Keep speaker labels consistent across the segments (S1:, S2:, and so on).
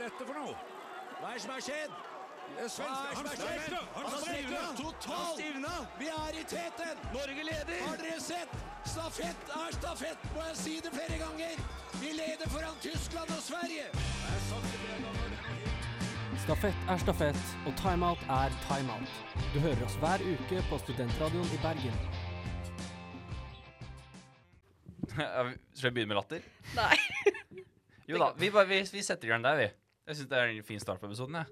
S1: dette for noe? Hva er det som har skjedd?
S2: Svenske-
S1: Hva er det som
S2: han
S1: har skjedd?
S2: stivna! Han
S1: har
S2: stivna!
S1: stivna
S2: Han
S1: totalt!
S2: stivna!
S1: Vi er i teten!
S2: Norge leder!
S1: Har dere sett? Stafett er stafett, må jeg si det flere ganger. Vi leder foran Tyskland og Sverige.
S3: Stafett er stafett, og timeout er timeout. Du hører oss hver uke på Studentradioen i Bergen.
S4: Skal vi begynne med latter?
S5: Nei.
S4: Jo da, vi, bare, vi, vi setter i gang der, vi. Jeg syns det er en fin start på episoden, jeg.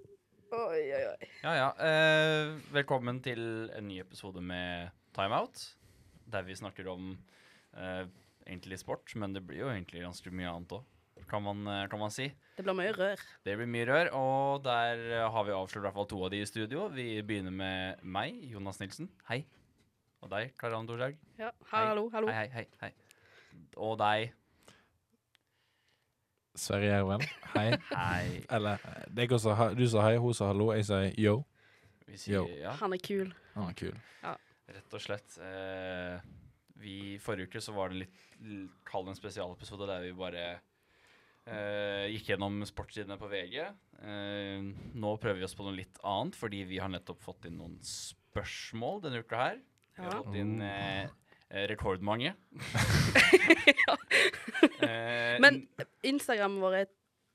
S5: Oi, oi, oi.
S4: Ja, ja. eh, velkommen til en ny episode med Timeout. Der vi snakker om eh, egentlig sport, men det blir jo egentlig ganske mye annet òg, kan, man, eh, kan man si.
S5: Det blir mye rør.
S4: Det blir mye rør, og der eh, har vi avslørt i hvert fall to av de i studio. Vi begynner med meg, Jonas Nilsen. Hei. Og deg, Karianne Dorsaug.
S5: Ja, hallo, hallo.
S4: Hei, hei, hei, hei. Og deg.
S2: Sverre Gjerven, hei.
S4: Hei.
S2: Eller det er ikke også, du sa hei, hun sa hallo, jeg sier yo.
S4: Vi
S2: Yo.
S4: sier ja.
S5: Han er kul.
S2: Han var kul.
S4: Rett og slett. Eh, vi Forrige uke så var det litt l- Kall det en spesialepisode der vi bare eh, gikk gjennom sportssidene på VG. Eh, nå prøver vi oss på noe litt annet, fordi vi har nettopp fått inn noen spørsmål denne uka her. Vi har
S5: Ja. Oh.
S4: fått inn eh, eh, rekordmange. Eh,
S5: Men Instagrammen vår er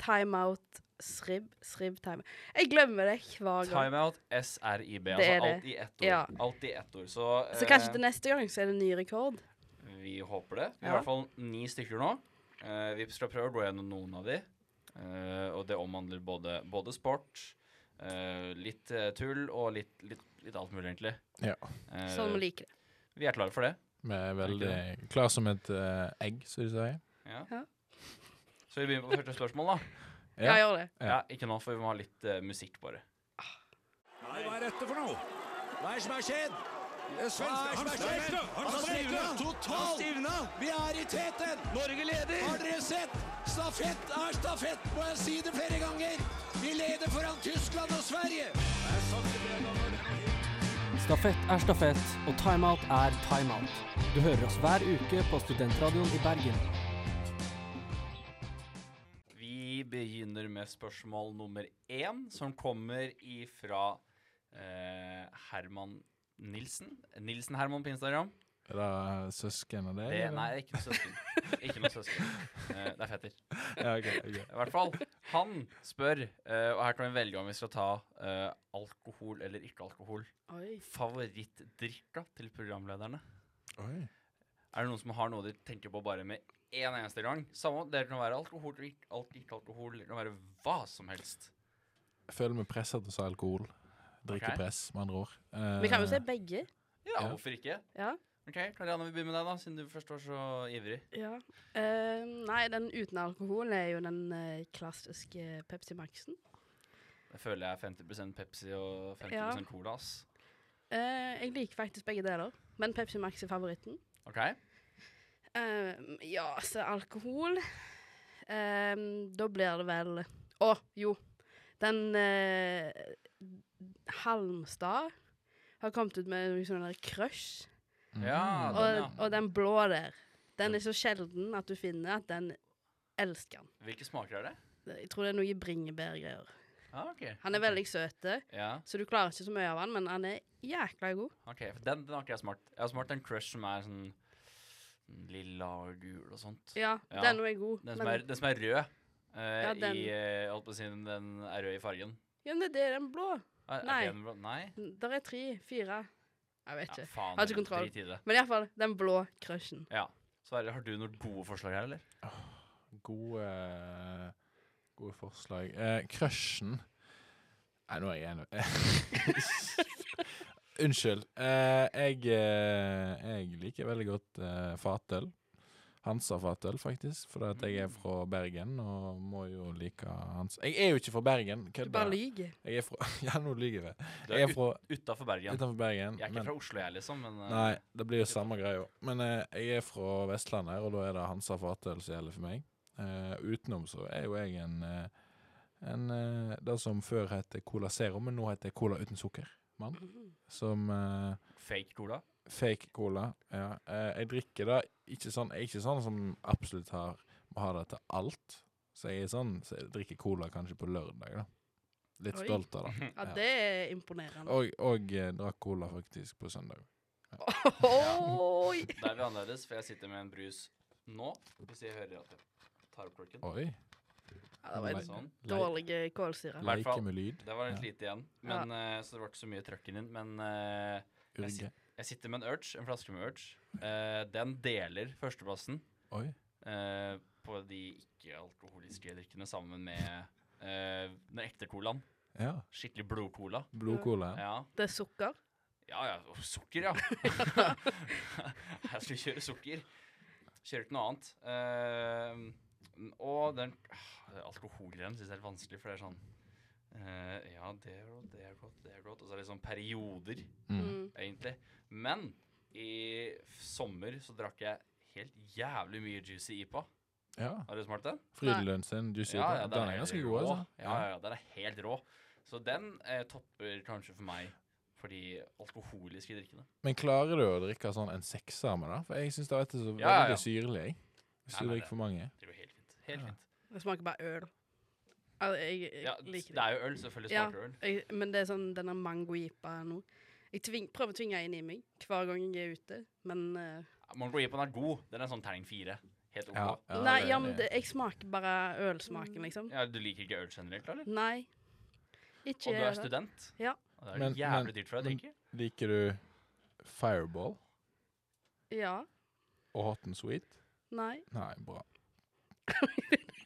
S5: timeout srib, srib time. Jeg glemmer det hver gang.
S4: Timeout SRIB.
S5: Det
S4: Altså
S5: er
S4: alt
S5: det.
S4: i ett ord.
S5: Ja.
S4: Alt i ett ord. Så, eh,
S5: Så kanskje til neste gang så er det ny rekord.
S4: Vi håper det. Vi har
S5: Ja.
S4: i hvert fall ni stykker nå. Eh, vi skal prøve å gå gjennom noen av de. Eh, og det omhandler både, både sport, eh, litt eh, tull og litt, litt, litt alt mulig, egentlig.
S2: Ja.
S4: Eh,
S5: Sånn vi liker det.
S4: vi er klare for det.
S2: Vi er veldig klar som et eh, egg, som de sier.
S4: Ja.
S5: Ja.
S4: Så vi begynner på første spørsmål, da.
S5: Ja, gjør det.
S2: Ja.
S4: Ja. ikke nå, for vi må ha litt eh, musikk, bare.
S1: Nei, hva er dette for noe? Hva er det som har skjedd? Svenske-
S2: Han
S1: hva er det som har skjedd?
S2: stivna! Han
S1: Han stivna
S2: stivna! Han
S1: totalt!
S2: stivna!
S1: Vi er i teten!
S2: Norge leder!
S1: Har dere sett? Stafett er stafett, må jeg si det flere ganger. Vi leder foran Tyskland og Sverige.
S3: Stafett er stafett, og timeout er timeout. Du hører oss hver uke på Studentradioen i Bergen.
S4: Vi begynner med spørsmål nummer én, som kommer ifra eh, Herman Nilsen. Nilsen Herman på Instagram.
S2: Er det søsken av deg?
S4: Det,
S2: eller?
S4: nei, ikke noe søsken. Ikke noe søsken. Eh, det er fetter.
S2: Ja, ok, ok.
S4: I hvert fall. Han spør, eh, og her kan vi velge om vi skal ta eh, alkohol eller ikke alkohol.
S5: Oi.
S4: Favorittdrikka til programlederne?
S2: Oi.
S4: Er det noen som har noe de tenker på bare med en eneste gang? Samme, det kan være alkohol, ikke alt- ikke alkohol, det kan være hva som helst.
S2: Jeg føler meg presset til å si alkohol. Drikkepress, med andre ord. Eh,
S5: Vi kan jo se begge.
S4: Ja,
S2: Ja.
S4: hvorfor ikke?
S5: Ja.
S4: Ok, Karianne, vi begynner med deg, da, siden du først var så ivrig.
S5: ja. Eh, nei, den uten alkohol er jo den eh, klassiske Pepsi Maxen.
S4: Jeg føler jeg er 50 Pepsi og 50 Cola, ass.
S5: Eh, jeg liker faktisk begge deler, men Pepsi Max er favoritten.
S4: Ok?
S5: Eh, ja, så alkohol eh, Da blir det vel Å, jo. Den eh, Halmstad har kommet ut med noe sånn der crush.
S4: Ja,
S5: Og,
S4: den, ja.
S5: og den blå der. Den er så sjelden at du finner at den elsker den.
S4: Hvilke smaker er det?
S5: Jeg tror det er noe bringebærgreier.
S4: Ja, ok.
S5: Han er veldig søte,
S4: Ja,
S5: så du klarer ikke så mye av han, men han er jækla god.
S4: ok. For den, den har ikke jeg smakt. Jeg har smakt en crush som er sånn lilla og gul og sånt.
S5: Ja,
S4: Ja,
S5: den er god.
S4: Den, som
S5: men,
S4: er, den som er rød. eh,
S5: Ja, den.
S4: I, eh, jeg holdt på å si, den- den er rød i fargen. Eh,
S5: ja, men det er den blå.
S4: Er, er
S5: Nei.
S4: den blå? Nei?
S5: Der er tre, fire. Jeg vet
S4: Ja,
S5: ikke.
S4: faen.
S5: Har ikke kontroll.
S4: Drit i det.
S5: Men iallfall den blå crushen.
S4: Ja. Sverre, har du noen gode forslag her, eller?
S2: Eh, Gode, gode forslag. Eh, crushen Nei, nå er jeg enig. Unnskyld. Eh, jeg, eh, jeg liker veldig godt eh, fatøl. Hansa-fatøl, faktisk. Fordi at jeg er
S5: Mm.
S2: fra Bergen og må jo like Hans... Jeg er jo ikke fra Bergen.
S5: Du bare
S2: Kødda.
S5: lyver.
S2: Jeg er fra Ja, nå lyver jeg.
S4: Du
S2: Jeg
S4: er
S2: er fra
S4: ut, utafor Bergen.
S2: utenfor Bergen.
S4: Jeg er ikke
S2: men-
S4: fra Oslo, jeg, liksom, men eh,
S2: Nei, det blir jo samme greia. Men eh, jeg er fra Vestlandet, og da er det Hansa Fatøl som gjelder for meg. Eh, utenom så er jo jeg en, eh, en eh, Det som før het Cola Zero, men nå heter Cola uten sukker. Mann. Som eh,
S4: fake cola.
S2: fake cola. Ja. Eh, jeg drikker det ikke sånn Jeg er ikke sånn som absolutt har, må ha det til alt. Så jeg er sånn, så jeg drikker cola kanskje på lørdag, da. Litt
S5: Oi.
S2: stolt av
S4: Mm,
S2: det.
S5: Ja, det er imponerende.
S2: Og, og eh, drakk cola faktisk på søndag.
S5: Oi!
S4: Da er vi annerledes, for jeg sitter med en brus nå, hvis jeg hører at jeg tar opp klokken.
S2: Oi.
S5: Ja, det var en
S4: Sånn.
S5: dårlig eh, kålsyre.
S4: hvert fall.
S2: Leike med lyd.
S4: Det var litt
S2: Ja.
S4: lite igjen, men, eh, så det var ikke så mye trøkken din. Men eh, jeg, sit-
S2: Urge.
S4: jeg sitter med en Urge, en flaske med Urge. Eh, den deler førsteplassen
S2: Oi.
S4: eh, på de ikke-alkoholiske drikkene sammen med eh, den ekte colaen.
S2: Ja.
S4: Skikkelig blodcola.
S2: Blodcola. Ja.
S4: Ja.
S5: Det er sukker.
S4: Ja, ja. og Sukker, ja. jeg skulle kjøre sukker. Kjører ikke noe annet. Eh, og den ah, Alkoholgreiene syns jeg er litt vanskelig, for det er sånn eh, Ja, det er godt, det er godt, det er godt. Og så er det sånn perioder,
S2: Mm.
S5: Mm.
S4: egentlig. Men i f- sommer så drakk jeg helt jævlig mye Juicy IPA.
S2: ja.
S4: Har du smakt den?
S2: Frydelønn sin juicy. E
S4: Ja, ja,
S2: den, den er ganske
S4: helt
S2: god,
S4: rå.
S2: altså.
S4: Ja, ja, ja, den er helt rå. Så den eh, topper kanskje for meg for de alkoholiske drikkene.
S2: Men klarer du å drikke sånn en sekser med det? For jeg syns det er så veldig
S4: Ja, ja, ja.
S2: syrlig. jeg. Hvis
S4: Nei,
S2: du
S4: nei,
S2: drikker for mange.
S4: Det går helt fint. Helt
S2: Ja.
S4: fint.
S5: Det smaker bare øl. Altså, jeg, jeg
S4: Ja,
S5: liker
S4: det er jo øl, selvfølgelig
S5: Ja.
S4: smaker det øl.
S5: Jeg, men det er sånn denne mango-jipaen òg. Jeg tving, prøver å tvinge inn i meg hver gang jeg er ute, men eh,
S4: Mongo-jipaen er god. Den er sånn terning fire. Helt OK.
S2: Ja,
S4: Ja.
S2: ja,
S5: Nei,
S2: det-
S5: ja, men det, jeg smaker bare
S4: Mm.
S5: ølsmaken, liksom.
S4: Du liker ikke øl generelt, eller?
S5: Nei. Ikke
S4: Og du er
S5: jeg det.
S4: student?
S5: Ja.
S4: Og det er
S2: Men-
S4: jo jævlig
S2: men-
S4: dyrt for deg å
S2: men-
S4: drikke.
S2: Liker du Fireball
S5: Ja.
S2: og Hot and Sweet?
S5: Nei.
S2: Nei, bra.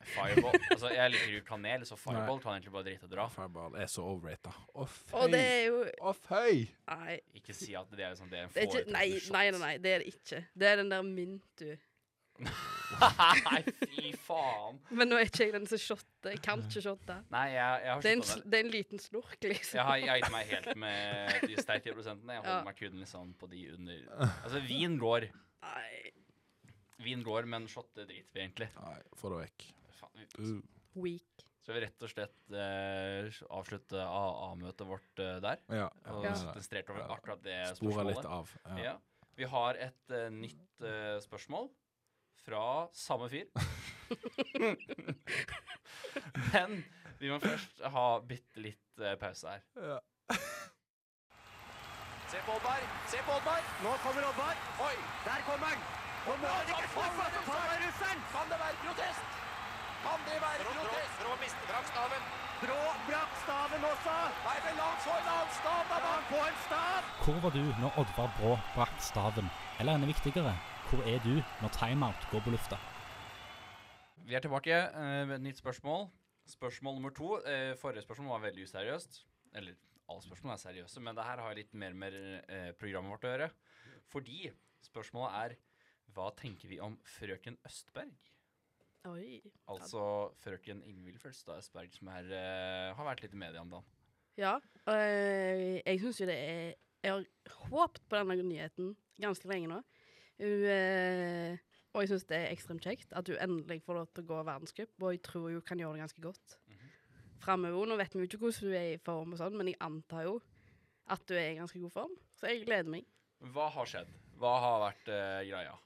S4: Fireball. Altså, jeg liker jo kanel, så fireball kan egentlig bare drite og dra.
S2: Fireball er så overrated. Å,
S5: Og det
S2: føy!
S5: er jo
S2: Å, føy!
S5: Nei.
S4: Ikke si at det er liksom det en
S5: Det er ikke,
S4: foretrekker
S5: nei,
S4: shot.
S5: nei, nei, nei, det er det ikke. Det er den der mint, du.
S4: nei, fy faen.
S5: Men nå er ikke jeg den som shotter. Jeg kan ikke shotte.
S4: Nei, jeg, jeg har
S5: Det er, en,
S4: sluttet med
S5: sl- det er en liten slurk, liksom.
S4: Jeg har, jeg har gitt meg helt med de sterke prosentene. Jeg holder
S5: Ja.
S4: meg kun liksom på de under Altså, vin går.
S5: Nei.
S4: Vin går, men shot det driter vi egentlig.
S2: Nei, få det vekk.
S4: Faen, vi-
S2: Uh.
S5: Weak.
S4: Skal vi rett og slett eh, avslutte AA-møtet vårt eh, der?
S2: Ja.
S4: Og
S2: ja.
S4: s- streke over
S2: Ja.
S4: akkurat det
S2: Spore
S4: spørsmålet.
S2: litt av.
S4: Ja.
S2: Ja.
S4: Vi har et eh, nytt eh, spørsmål fra samme fyr. Men vi må først ha bitte litt eh, pause her.
S2: Ja.
S6: Se på Oddvar! Se på Oddvar! Nå kommer Oddvar! Oi, der kommer han! Og nå er det ikke snakk om å ta av russeren!
S1: Kan det være protest? Kan det være protest?
S6: Brå miste brakk staven. Brå brakk staven også!
S1: Nei, men la han få en annen stav, da!
S6: Han får en stav!
S7: Hvor var du når Oddvar Brå brakk staven? Eller enda viktigere, hvor er du når timeout går på lufta?
S4: Vi er tilbake eh, med et nytt spørsmål. Spørsmål nummer to. eh, forrige spørsmål var veldig useriøst. Eller alle spørsmål er seriøse, men det her har litt mer med eh, programmet vårt å gjøre. Fordi spørsmålet er hva tenker vi om frøken Østberg?
S5: Oi.
S4: Altså frøken Ingvild Følstad Østberg, som er, eh, har vært litt i media om dagen.
S5: Ja. øh, jeg syns jo det er Jeg har håpet på denne nyheten ganske lenge nå. Hun, øh, og jeg syns det er ekstremt kjekt at hun endelig får lov til å gå verdenscup, og jeg tror hun kan gjøre det ganske godt.
S4: Mhm.
S5: Fremover, Nå vet vi jo ikke hvordan hun er i form, og sånn, men jeg antar jo at hun er i ganske god form. Så jeg gleder meg.
S4: Hva har skjedd? Hva har vært eh, greia?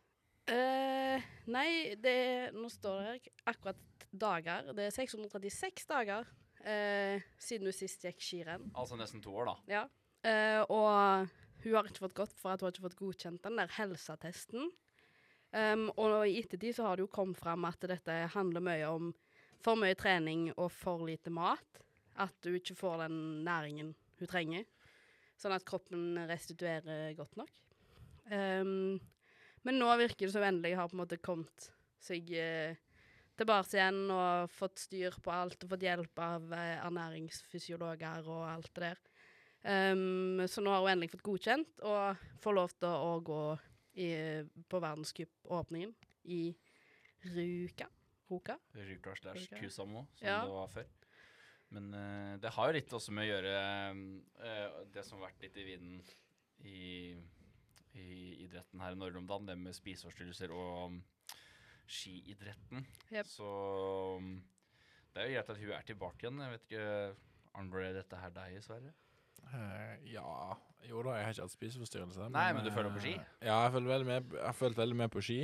S5: Eh, nei, det er, nå står det her akkurat dager. Det er 636 dager eh, siden hun sist gikk skirenn.
S4: Altså nesten to år, da.
S5: Ja. Eh, og hun har ikke fått godt for at hun har ikke fått godkjent den der helseattesten. Em, og i ettertid så har det jo kommet fram at dette handler mye om for mye trening og for lite mat. At hun ikke får den næringen hun trenger, sånn at kroppen restituerer godt nok. Em, men nå virker det som endelig har på en måte kommet seg eh, tilbake igjen og fått styr på alt og fått hjelp av eh, ernæringsfysiologer og alt det der. Um, så nå har hun endelig fått godkjent og får lov til å gå i, på verdenscupåpningen i Ruka. Ruka?
S4: Rjuka slash
S5: Ok.
S4: Kusamo, som
S5: Ja.
S4: det var før. Men eh, det har jo litt også med å gjøre eh, det som har vært litt i vinden i, i idretten her i Norge om dagen, det med spiseforstyrrelser og mm, skiidretten.
S5: Jep.
S4: Så mm, det er jo greit at hun er tilbake igjen. Jeg vet ikke Arnbred, dette her deg, Sverre?
S2: Eh, ja Jo da, jeg har ikke hatt spiseforstyrrelse.
S4: Nei, men du følger på ski?
S2: eh, Ja, jeg følger veldig med, jeg har følt veldig med på ski.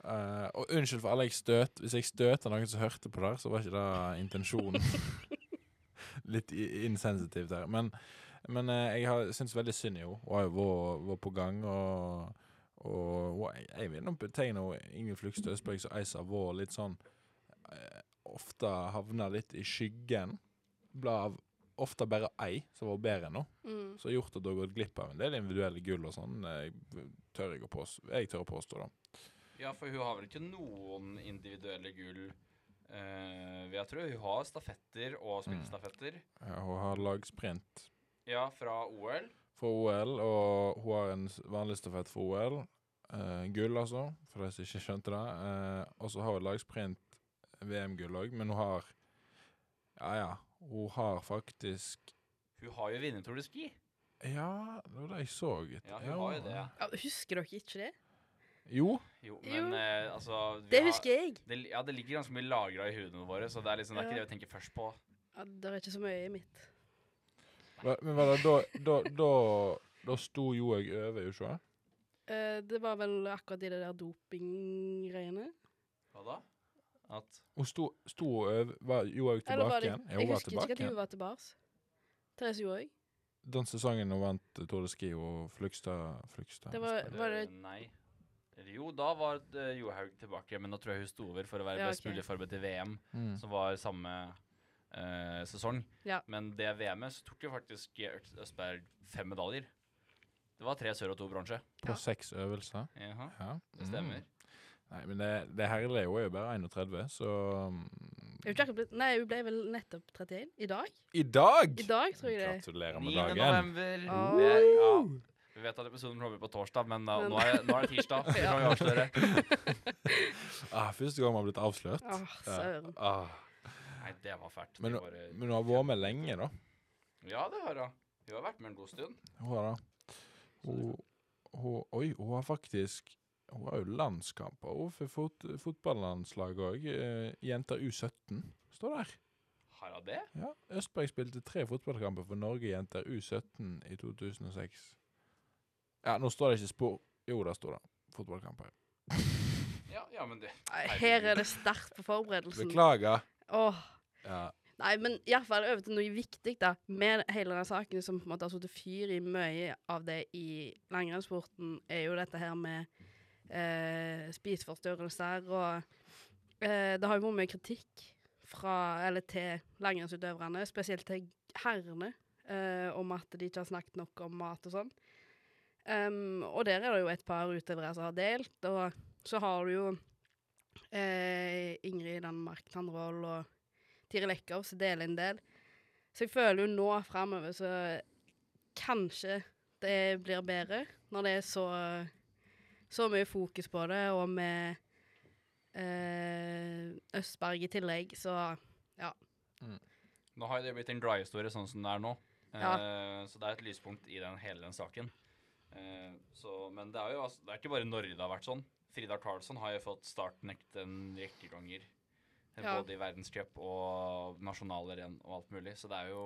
S2: Eh, og unnskyld for alle jeg støt. Hvis jeg støter noen som hørte på det, så var ikke det intensjonen. Litt i- insensitivt der. Men, men eh, jeg har- syns veldig synd i henne. Hun har jo vært- vært på gang, og, og hun- jeg- jeg vil nå betegne henne, Ingvild Flugstad Østberg som ei som har vært litt sånn eh, Ofte havna litt i skyggen. Ble av ofte bare ei som var bedre enn henne.
S5: Mm.
S2: Så gjort at du har gått glipp av en del individuelle gull og sånn. eh, Tør jeg, å påstå, jeg tør å påstå, da.
S4: Ja, for hun har vel ikke noen individuelle gull, eh, vil jeg tro. Hun har stafetter og spillestafetter.
S2: Ja, hun har lagsprint
S4: Ja, fra OL.
S2: fra OL, og hun har en s- vanlig stafett fra OL. Eh, gull, altså, for de som ikke skjønte det. Eh, og så har hun lagsprint VM-gull òg, men hun har Ja, ja. Hun har faktisk
S4: Hun har jo vunnet Tour de Ski.
S2: Ja, det var det jeg så. et-
S4: Ja, hun har jo det.
S5: Ja, ah, husker dere ikke det?
S2: Jo.
S4: Jo,
S5: Jo.
S4: men eh, altså vi
S5: Det
S4: har-
S5: husker jeg.
S4: Det, ja, det ligger ganske mye lagra i hudene våre, så det er liksom, det er ikke
S5: Ja.
S4: det vi tenker først på.
S5: Ja, det er ikke så mye i mitt.
S2: Hva- Men var det da Da, da, da sto jo jeg over, jo ikke
S5: Eh, det var vel akkurat i det der dopinggreiene.
S4: Hva da? At
S2: Hun sto, sto og øv... Var Johaug
S5: Eller var
S2: tilbake
S5: det-
S2: igjen? Ja,
S5: Jeg
S2: hun var
S5: husker ikke
S2: tilbake
S5: at hun
S2: igjen.
S5: var tilbake. Therese Johaug.
S2: Den sesongen hun vant eh, Tour de Ski og Flugstad Flugstad
S5: Det var, var det
S4: Eh, Nei. Eller jo, da var eh, Johaug tilbake, men da tror jeg hun sto over for å være
S5: Ja,
S4: best
S5: ok.
S4: mulig forberedt til VM,
S2: Mm.
S4: som var samme eh, sesong.
S5: Ja.
S4: Men det VM-et så tok jo faktisk Gjert Østberg fem medaljer. Det var tre sør og to bronse.
S2: På seks øvelser.
S4: Jaha,
S2: Ja. Mm.
S4: det
S5: Mm.
S4: stemmer.
S2: Nei, men det, det herlige hun er jo bare 31, så mm,
S5: er hun ikke akkurat blitt- Nei, hun ble vel nettopp 31. I dag?
S2: I dag!
S5: I dag, tror jeg det.
S2: Gratulerer
S4: 9.
S2: med dagen.
S4: november.
S5: Åh.
S4: Det, ja. Vi vet at episoden kommer på torsdag, men da-
S5: Men-
S4: nå, er, nå er det tirsdag. så Vi kan jo avsløre.
S2: Ah, første gang vi har blitt avslørt.
S5: Åh, søren.
S2: Ah.
S4: Nei, det var fælt. Det
S2: Men,
S4: var, eh,
S2: men hun har vært med lenge, da.
S4: Ja, det har hun. Hun har vært med en god stund.
S2: Hun har det. Hun, hun, oi, hun har faktisk Hun har jo landskamper hun for fot, fotballandslaget òg. Eh, jenter U17 står der.
S4: Har hun det?
S2: Ja, Østberg spilte tre fotballkamper for Norge jenter U17 i 2006. Ja, nå står det ikke spor. Jo, der står det. Fotballkamper.
S4: Ja, ja men det
S5: Nei, Her er det sterkt på forberedelsen.
S2: Beklager.
S5: Åh.
S2: Ja,
S5: Nei, men iallfall over til noe viktig, da. Med hele denne saken som på en måte har satt fyr i mye av det i langrennssporten, er jo dette her med eh, spiseforstyrrelser og eh, Det har jo vært mye kritikk fra, eller til langrennsutøverne, spesielt til herrene, eh, om at de ikke har snakket nok om mat og sånn. Ehm, og der er det jo et par utøvere som har delt, og så har du jo eh, Ingrid Danmark Tandroll og Tiril Eckhoff som deler en del. Så jeg føler jo nå framover så kanskje det blir bedre, når det er så, så mye fokus på det, og med eh, Østberg i tillegg, så
S4: Nå har jo det blitt en glad-historie sånn som det er nå. Eh,
S5: Ja.
S4: så det er et lyspunkt i den, hele den saken. Eh, så, men det er jo altså, det er ikke bare Norge det har vært sånn. Frida Karlsson har jo fått startnekt en rekke ganger. eh,
S5: Ja.
S4: Både i verdenscup og nasjonale renn og alt mulig. Så det er jo,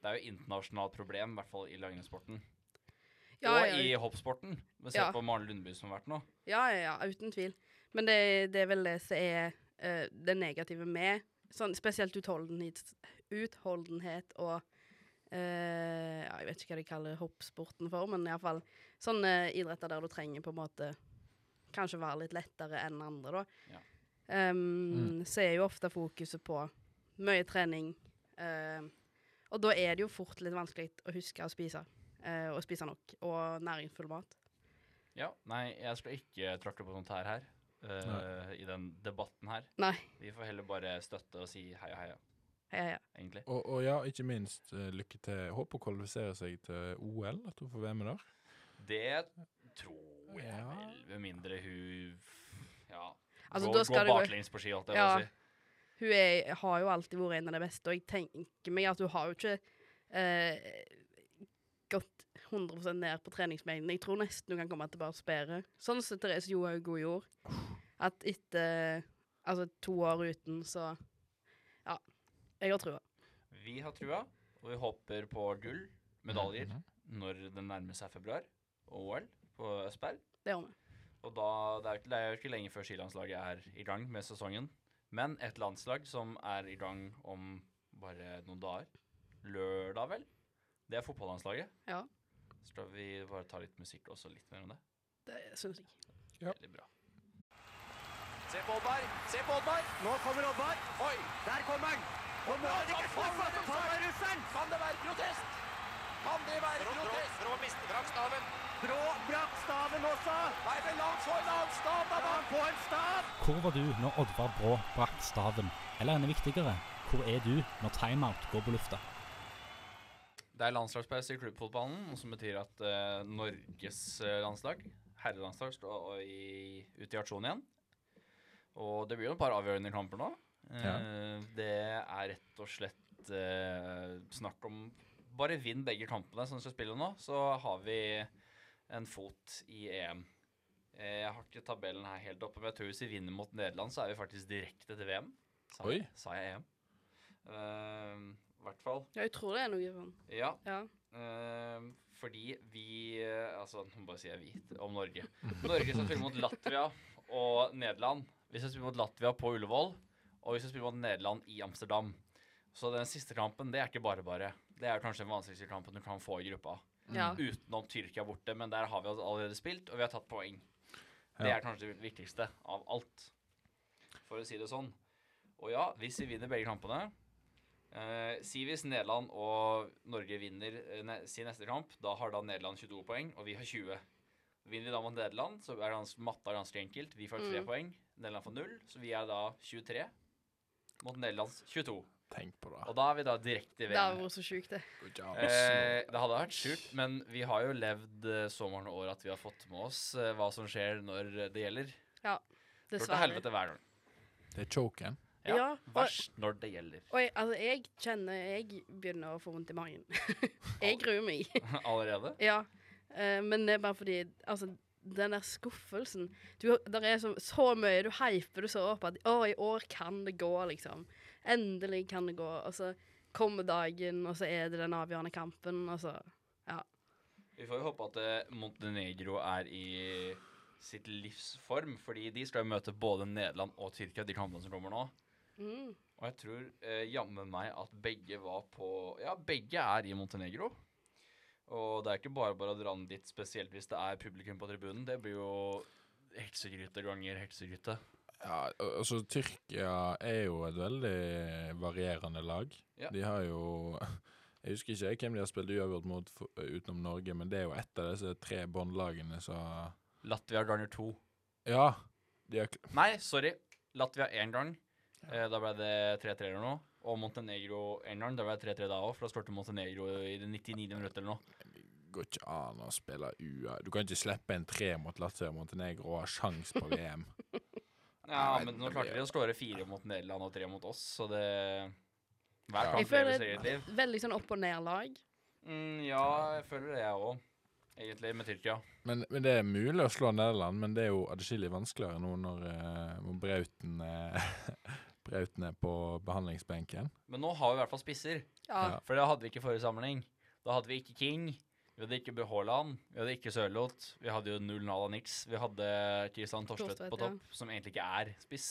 S4: det er jo internasjonalt problem, i hvert fall i langrennssporten.
S5: ja,
S4: og
S5: ja,
S4: i hoppsporten. Vi ser
S5: Ja.
S4: på Maren Lundby som har vært nå.
S5: Ja, ja, ja, uten tvil. Men det, det er vel det som er eh, det negative med sånn, spesielt utholdenhet, utholdenhet og eh, ja, Jeg vet ikke hva de kaller hoppsporten for, men iallfall sånne idretter der du trenger på en måte kanskje være litt lettere enn andre, da.
S4: Ja.
S5: Ehm, Så er jo ofte fokuset på mye trening. eh, og da er det jo fort litt vanskelig å huske å spise, eh, og spise nok, og næringsfull mat.
S4: Ja, nei, jeg skal ikke tråkke på sånt her her. eh, I den debatten her.
S5: Nei.
S4: Vi får heller bare støtte og si heia, heia,
S5: Heia, heia.
S4: egentlig.
S2: Og, og ja, ikke minst eh, lykke til. Håper hun kvalifiserer seg til OL, at hun får være med der.
S4: Det tror jeg
S2: Ja.
S4: vel, med mindre hun ja,
S5: Altså,
S4: går,
S5: da skal
S4: går
S5: det gå-
S4: baklengs på ski, holdt jeg på
S5: Ja.
S4: å si.
S5: hun er, har jo alltid vært en av de beste, og jeg tenker meg at hun har jo ikke eh, gått 100 ned på treningsmengden. Jeg tror nesten hun kan komme tilbake bedre. Sånn som Therese Johaug god gjorde. At etter altså, to år uten, så Ja. Jeg har trua.
S4: Vi har trua, og vi håper på gull, medaljer, når det nærmer seg februar, og OL på Østberg.
S5: Det gjør vi.
S4: Og da, det, er, jo ikke- det er jo ikke lenge før skilandslaget er i gang med sesongen. Men et landslag som er i gang om bare noen dager, lørdag vel, det er fotballandslaget.
S5: Ja,
S4: Så skal vi bare ta litt musikk og så litt mer om det.
S5: det syns jeg.
S4: Veldig bra.
S6: Se på Oddvar, se på Oddvar. Nå kommer Oddvar. Oi, der kommer han. Og nå er det ikke for at han tar russeren. Kan det være protest? Kan det være protest? Brå mister brakk staven. Brå brakk staven også. Nei, men la han få en annen stav, da. La han få en stav.
S7: Hvor var du når Oddvar Brå brakk staven? Eller enda viktigere, hvor er du når timeout går på lufta?
S4: Det er landslagspause i klubbfotballen, som betyr at eh, Norges eh, landslag, herrelandslag, står i, ute i aksjon igjen. Og det blir jo et par avgjørende kamper nå. Eh, Det er rett og slett eh, snakk om Bare vinn begge kampene sånn som skal spille nå, så har vi en fot i EM. Eh, Jeg har ikke tabellen her helt oppe, men jeg tror hvis vi vinner mot Nederland, så er vi faktisk direkte til VM. Sa,
S2: Oi.
S4: sa jeg EM? Eh, I hvert fall.
S5: Ja, jeg tror det er noe sånn.
S4: Ja.
S5: Ja.
S4: Ehm, fordi vi eh, Altså, nå bare sier jeg vi om Norge. Norge skal spille mot Latvia og Nederland. Vi skal spille mot Latvia på Ullevål, og vi skal spille mot Nederland i Amsterdam. Så den siste kampen, det er ikke bare bare. Det er kanskje den vanskeligste kampen du kan få i gruppa.
S5: Ja.
S4: Utenom Mm. Tyrkia borte, men der har vi allerede spilt, og vi har tatt poeng. Det
S2: Ja.
S4: er kanskje det viktigste av alt, for å si det sånn. Og ja, hvis vi vinner begge kampene eh, Si hvis Nederland og Norge vinner eh, ne sin neste kamp, da har da Nederland 22 poeng, og vi har 20. Vinner vi da mot Nederland, så er gans matta ganske enkelt. Vi får 3
S5: Mm.
S4: poeng, Nederland får 0, så vi er da 23 mot Nederlands 22.
S2: Tenk på det.
S4: Og da er vi da direkte i
S5: Det har
S4: VM.
S5: vært så sjukt, det.
S2: Går ikke an å
S4: Eh,
S2: snu.
S4: det hadde vært sjukt, men vi har jo levd eh, så mange år at vi har fått med oss eh, hva som skjer når eh, det gjelder. Går til
S5: Dessverre.
S4: helvete hver gang.
S2: Det er choken.
S4: Ja,
S5: Ja, og-
S4: Verst når det gjelder.
S5: Oi, altså, jeg kjenner Jeg begynner å få vondt i magen. jeg gruer meg.
S4: Allerede.
S5: ja. Eh, men det er bare fordi Altså, den der skuffelsen du, Der er så, så mye du hyper du så opp at Å, i år kan det gå, liksom. Endelig kan det gå. Og så kommer dagen, og så er det den avgjørende kampen, og så
S4: Vi får jo håpe at eh, Montenegro er i sitt livsform, fordi de skal jo møte både Nederland og Tyrkia, de kampene som kommer nå.
S5: mm.
S4: Og jeg tror eh, jammen meg at begge var på Ja, begge er i Montenegro. Og det er ikke bare bare å dra den dit, spesielt hvis det er publikum på tribunen. Det blir jo heksegryte ganger heksegryte.
S2: Ja, al- altså, Tyrkia er jo et veldig varierende lag.
S4: Ja.
S2: De har jo Jeg husker ikke jeg hvem de har spilt uavgjort mot for, utenom Norge, men det er jo ett av disse tre båndlagene som
S4: Latvia ganger to.
S2: Ja! De har, k-
S4: Nei, sorry. Latvia én gang. Eh, da ble det 3-3 eller noe. Og Montenegro én gang. Da ble det 3-3 da òg, for da skåret Montenegro i det 99. minuttet eller noe.
S2: går ikke an å spille UA. Du kan ikke slippe en tre mot Latvia og Montenegro og ha sjans på VM.
S4: Ja,
S2: Nei,
S4: men nå
S2: det
S4: klarte
S2: blir-
S4: de å skåre fire mot Nederland og tre mot oss, så det
S2: Ja.
S4: Hver kamp
S5: Jeg
S4: lever
S5: føler
S4: sitt eget liv.
S5: veldig sånn opp og ned-lag.
S4: Mm, ja, jeg føler det, jeg òg. Egentlig, med Tyrkia.
S2: Men, men det er mulig å slå Nederland, men det er jo adskillig vanskeligere nå når eh, når Brauten eh, Brauten er på behandlingsbenken.
S4: Men nå har vi i hvert fall spisser,
S2: Ja.
S4: for det hadde vi ikke i forrige samling. Da hadde vi ikke King, vi hadde ikke Bø Haaland, vi hadde ikke Sørloth, vi hadde jo null Nala Nix, vi hadde Kristian Torstvedt
S5: Torstvedt,
S4: på
S5: ja.
S4: topp, som egentlig ikke er spiss.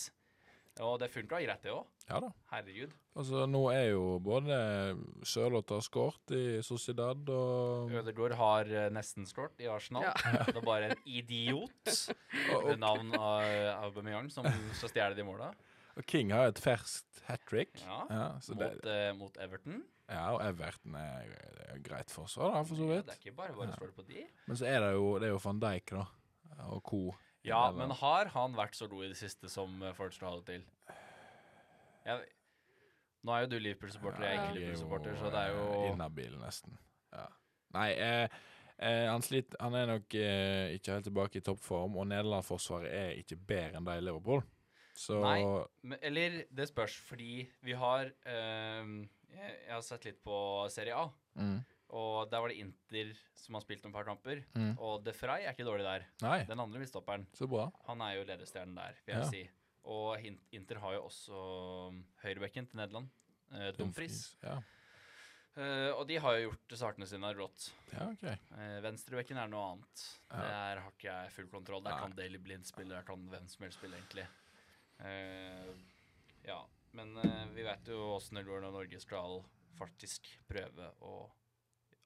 S4: Og det funka greit, det òg.
S2: Ja da.
S4: Herregud.
S2: Altså, nå er jo både Sørloth har skåret i Sociedad og,
S4: Ødegaard har eh, nesten skåret i Arsenal.
S5: Ja.
S4: Det er bare en idiot
S2: og,
S4: ved navn av Aubameyang som skal stjele de måla.
S2: og King har et ferskt hat trick.
S4: Ja,
S2: så
S4: Mot,
S2: det,
S4: eh, mot Everton.
S2: ja, og Everton er, er greit forsvar, da, for så
S4: Ja,
S2: vidt.
S4: det er ikke bare bare å stole på de.
S2: Men så er det jo, det er jo van Dijk, da. Og co.
S4: Ja,
S2: Eller-
S4: men har han vært så god i det siste som eh, folk skal ha det til? Jeg, nå er jo du Liverpool-supporter, jeg er
S5: Ja.
S2: De
S4: ikke
S2: er
S4: Liverpool-supporter,
S2: jo,
S4: så det er
S2: eh,
S4: jo
S2: Inhabil, nesten. Ja. Nei, eh, eh, han, sliter, han er nok eh, ikke helt tilbake i toppform, og Nederland-forsvaret er ikke bedre enn de i Liverpool. Så
S4: Nei. men, Eller det spørs, fordi vi har ehm, jeg, jeg har sett litt på Serie A,
S2: mm,
S4: og der var det Inter som har spilt noen par kamper.
S2: Mm.
S4: Og De Frey er ikke dårlig der.
S2: nei.
S4: Den andre midtstopperen,
S2: Så bra.
S4: han er jo ledestjernen der, vil jeg
S2: Ja.
S4: si. Og Hin- ehm, Inter har jo også høyrebekken til Nederland, eh, Dumfries.
S2: Ja.
S4: Eh, og de har jo gjort startene sine rått.
S2: Ja, OK.
S4: Uh, Venstrebekken er noe annet.
S2: Ja.
S4: Der har ikke jeg full kontroll. Der
S2: Nei.
S4: kan Daily Blind spille, der kan hvem som helst spille, egentlig. Eh, ja, men eh, vi vet jo åssen det går når Norge skal faktisk prøve å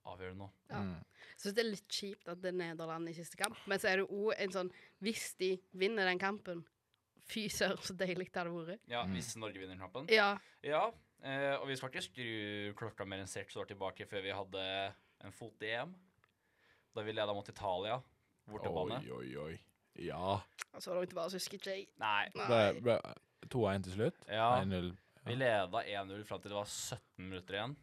S4: avgjøre noe.
S5: Ja.
S2: Mm.
S5: Jeg synes det er litt kjipt at det er Nederland i siste kamp, men så er det òg en sånn Hvis de vinner den kampen Fy søren, så deilig det hadde vært.
S4: Ja,
S2: Mm.
S4: hvis Norge vinner kampen.
S5: Ja.
S4: Ja, eh, og vi skal ikke skru klokka mer enn seks år tilbake før vi hadde en fot i EM. Da vi leda mot Italia, bortebane.
S2: Oi, oi, oi. Ja.
S5: Så langt bare så husker ikke jeg.
S4: Nei.
S2: Ble,
S5: Nei.
S2: ble 2-1 til slutt?
S4: Ja.
S2: 1-0.
S4: Vi leda 1-0 fram til det var 17 minutter igjen.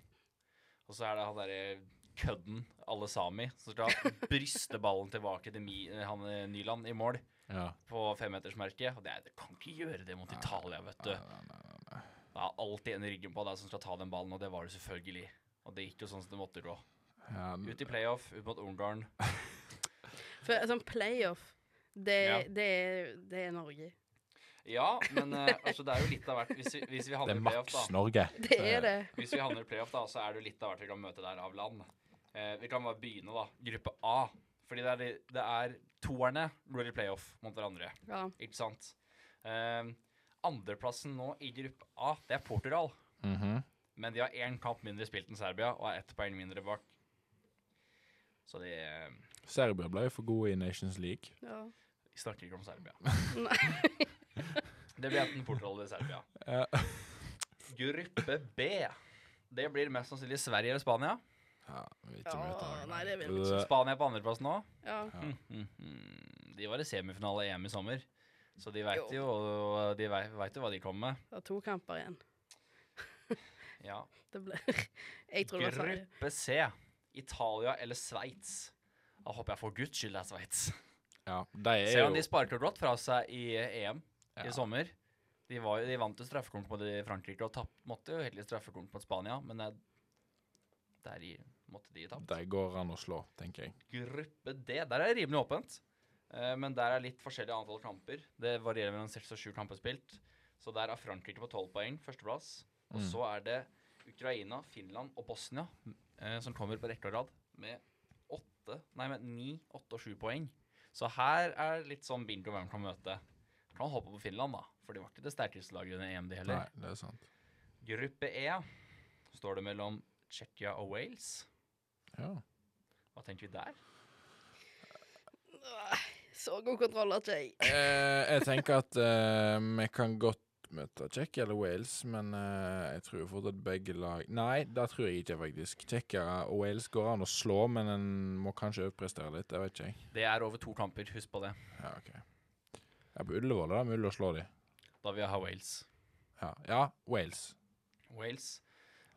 S4: Og så er det han derre kødden alle sami som skal bryste ballen tilbake til Mi, han eh, Nyland i mål
S2: Ja.
S4: på femmetersmerket. Og det, er- det kan ikke gjøre det mot Italia, vet du. Det er alltid en i ryggen på deg som skal ta den ballen, og det var det selvfølgelig. Og det gikk jo sånn som det måtte gå.
S2: ja.
S4: Ut i playoff, ut mot Ungarn.
S5: For sånn playoff, det,
S4: Ja.
S5: det, er, det er Norge.
S4: Ja, men eh, altså, det er jo litt av hvert. Hvis vi, hvis vi
S2: Det
S4: havner
S2: er
S4: i playoff,
S2: maks
S4: da.
S2: Norge.
S5: Det er det.
S4: Hvis vi handler playoff, da, så er det jo litt av hvert vi kan møte der av land. Eh, vi kan bare begynne, da. Gruppe A. Fordi det er, de- det er toerne går i playoff mot hverandre,
S5: Ja.
S4: ikke sant? Eh, andreplassen nå i gruppe A, det er Portugal.
S2: Mhm.
S4: Men de har én kamp mindre spilt enn Serbia og er ett poeng mindre bak. Så de eh,
S2: Serbia ble jo for gode i Nations League.
S5: ja.
S4: vi snakker ikke om Serbia.
S5: Nei.
S4: Det blir enten Portugal eller Serbia.
S2: Ja.
S4: Gruppe B. Det blir mest sannsynlig Sverige eller Spania.
S2: Ja, vi ikke
S5: Ja,
S2: møter noen.
S5: nei, det vil vi ikke.
S2: Øh,
S4: Spania på andreplass nå.
S5: ja.
S4: Mm, mm, mm. De var i semifinale i EM i sommer, så de veit
S5: Jo.
S4: jo, de vei- vet jo hva de kommer med.
S5: Det er to kamper igjen.
S4: Ja.
S5: Det blir Jeg tror det var Sverige.
S4: Gruppe C. Italia eller Sveits. Da håper jeg for guds skyld det er Sveits.
S2: Ja, de er
S4: Se om
S2: jo
S4: de sparker rått fra seg i EM
S2: Ja.
S4: i sommer. De, var, jo- de vant jo straffekonk mot Frankrike og tapt, måtte jo heldigvis straffekonk mot Spania, men det, der i, måtte de tapt.
S2: De går an å slå, tenker jeg.
S4: Gruppe D, der er det rimelig åpent. Eh, men der er litt forskjellig antall kamper. Det varierer mellom seks og sju kamper spilt. Så der er Frankrike på tolv poeng, førsteplass. Og
S2: Mm.
S4: så er det Ukraina, Finland og Bosnia eh, som kommer på rekke og rad med åtte, nei, med ni, åtte og sju poeng. Så her er litt sånn bingo hvem kan møte. Kan håpe på Finland, da. For de var ikke det sterkeste laget under EM, de heller.
S2: Nei, det er sant.
S4: Gruppe E står det mellom Tsjekkia og Wales.
S2: Ja.
S4: Hva tenker vi der?
S5: Så god kontroll har ikke jeg.
S2: Eh, jeg tenker at eh, vi kan godt møte Tsjekkia eller Wales, men eh, jeg tror fort at begge lag Nei, det tror jeg ikke, faktisk. Tsjekkia og Wales går an å slå, men en må kanskje overprestere litt. Jeg vet ikke, jeg.
S4: Det er over to kamper, husk på det.
S2: Ja, ok. Ja, på Ullevål er det mulig å slå de.
S4: Da vil jeg ha Wales.
S2: Ja, ja Wales.
S4: Wales.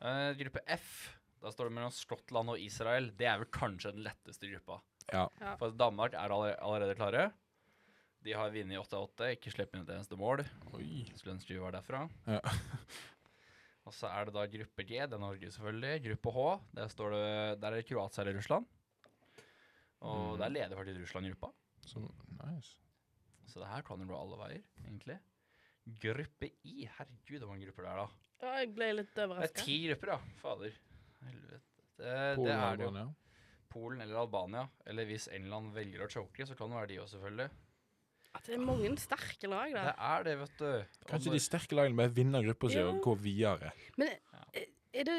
S4: Eh, gruppe F, da står det mellom Skottland og Israel. Det er vel kanskje den letteste gruppa.
S2: Ja.
S5: Ja.
S4: For Danmark er alle- allerede klare. De har vunnet 8-8, ikke sluppet inn et eneste mål.
S2: Oi.
S4: Skulle ønske vi var derfra.
S2: Ja.
S4: og så er det da gruppe G, det er Norge selvfølgelig. Gruppe H, der, står det, der er det Kroatia eller Russland. Og
S2: Mhm.
S4: der leder faktisk Russland gruppa.
S2: Så nice.
S4: Så det her kan jo gå alle veier, egentlig. Gruppe I, herregud, det var en gruppe der, da.
S5: Ja, jeg ble litt
S4: Det er
S5: overraska.
S4: ti grupper, ja. Fader. Helvete. Det, det
S2: Polen og
S4: er det jo.
S2: Albania.
S4: Polen eller Albania. Eller hvis England velger å choke, så kan det være de òg, selvfølgelig.
S5: Det er mange sterke lag
S4: Det
S5: der.
S4: er det, vet du. Og
S2: Kanskje
S4: når-
S2: de sterke lagene bare vinner gruppa si
S5: Ja.
S2: og går videre.
S5: Men eh, er det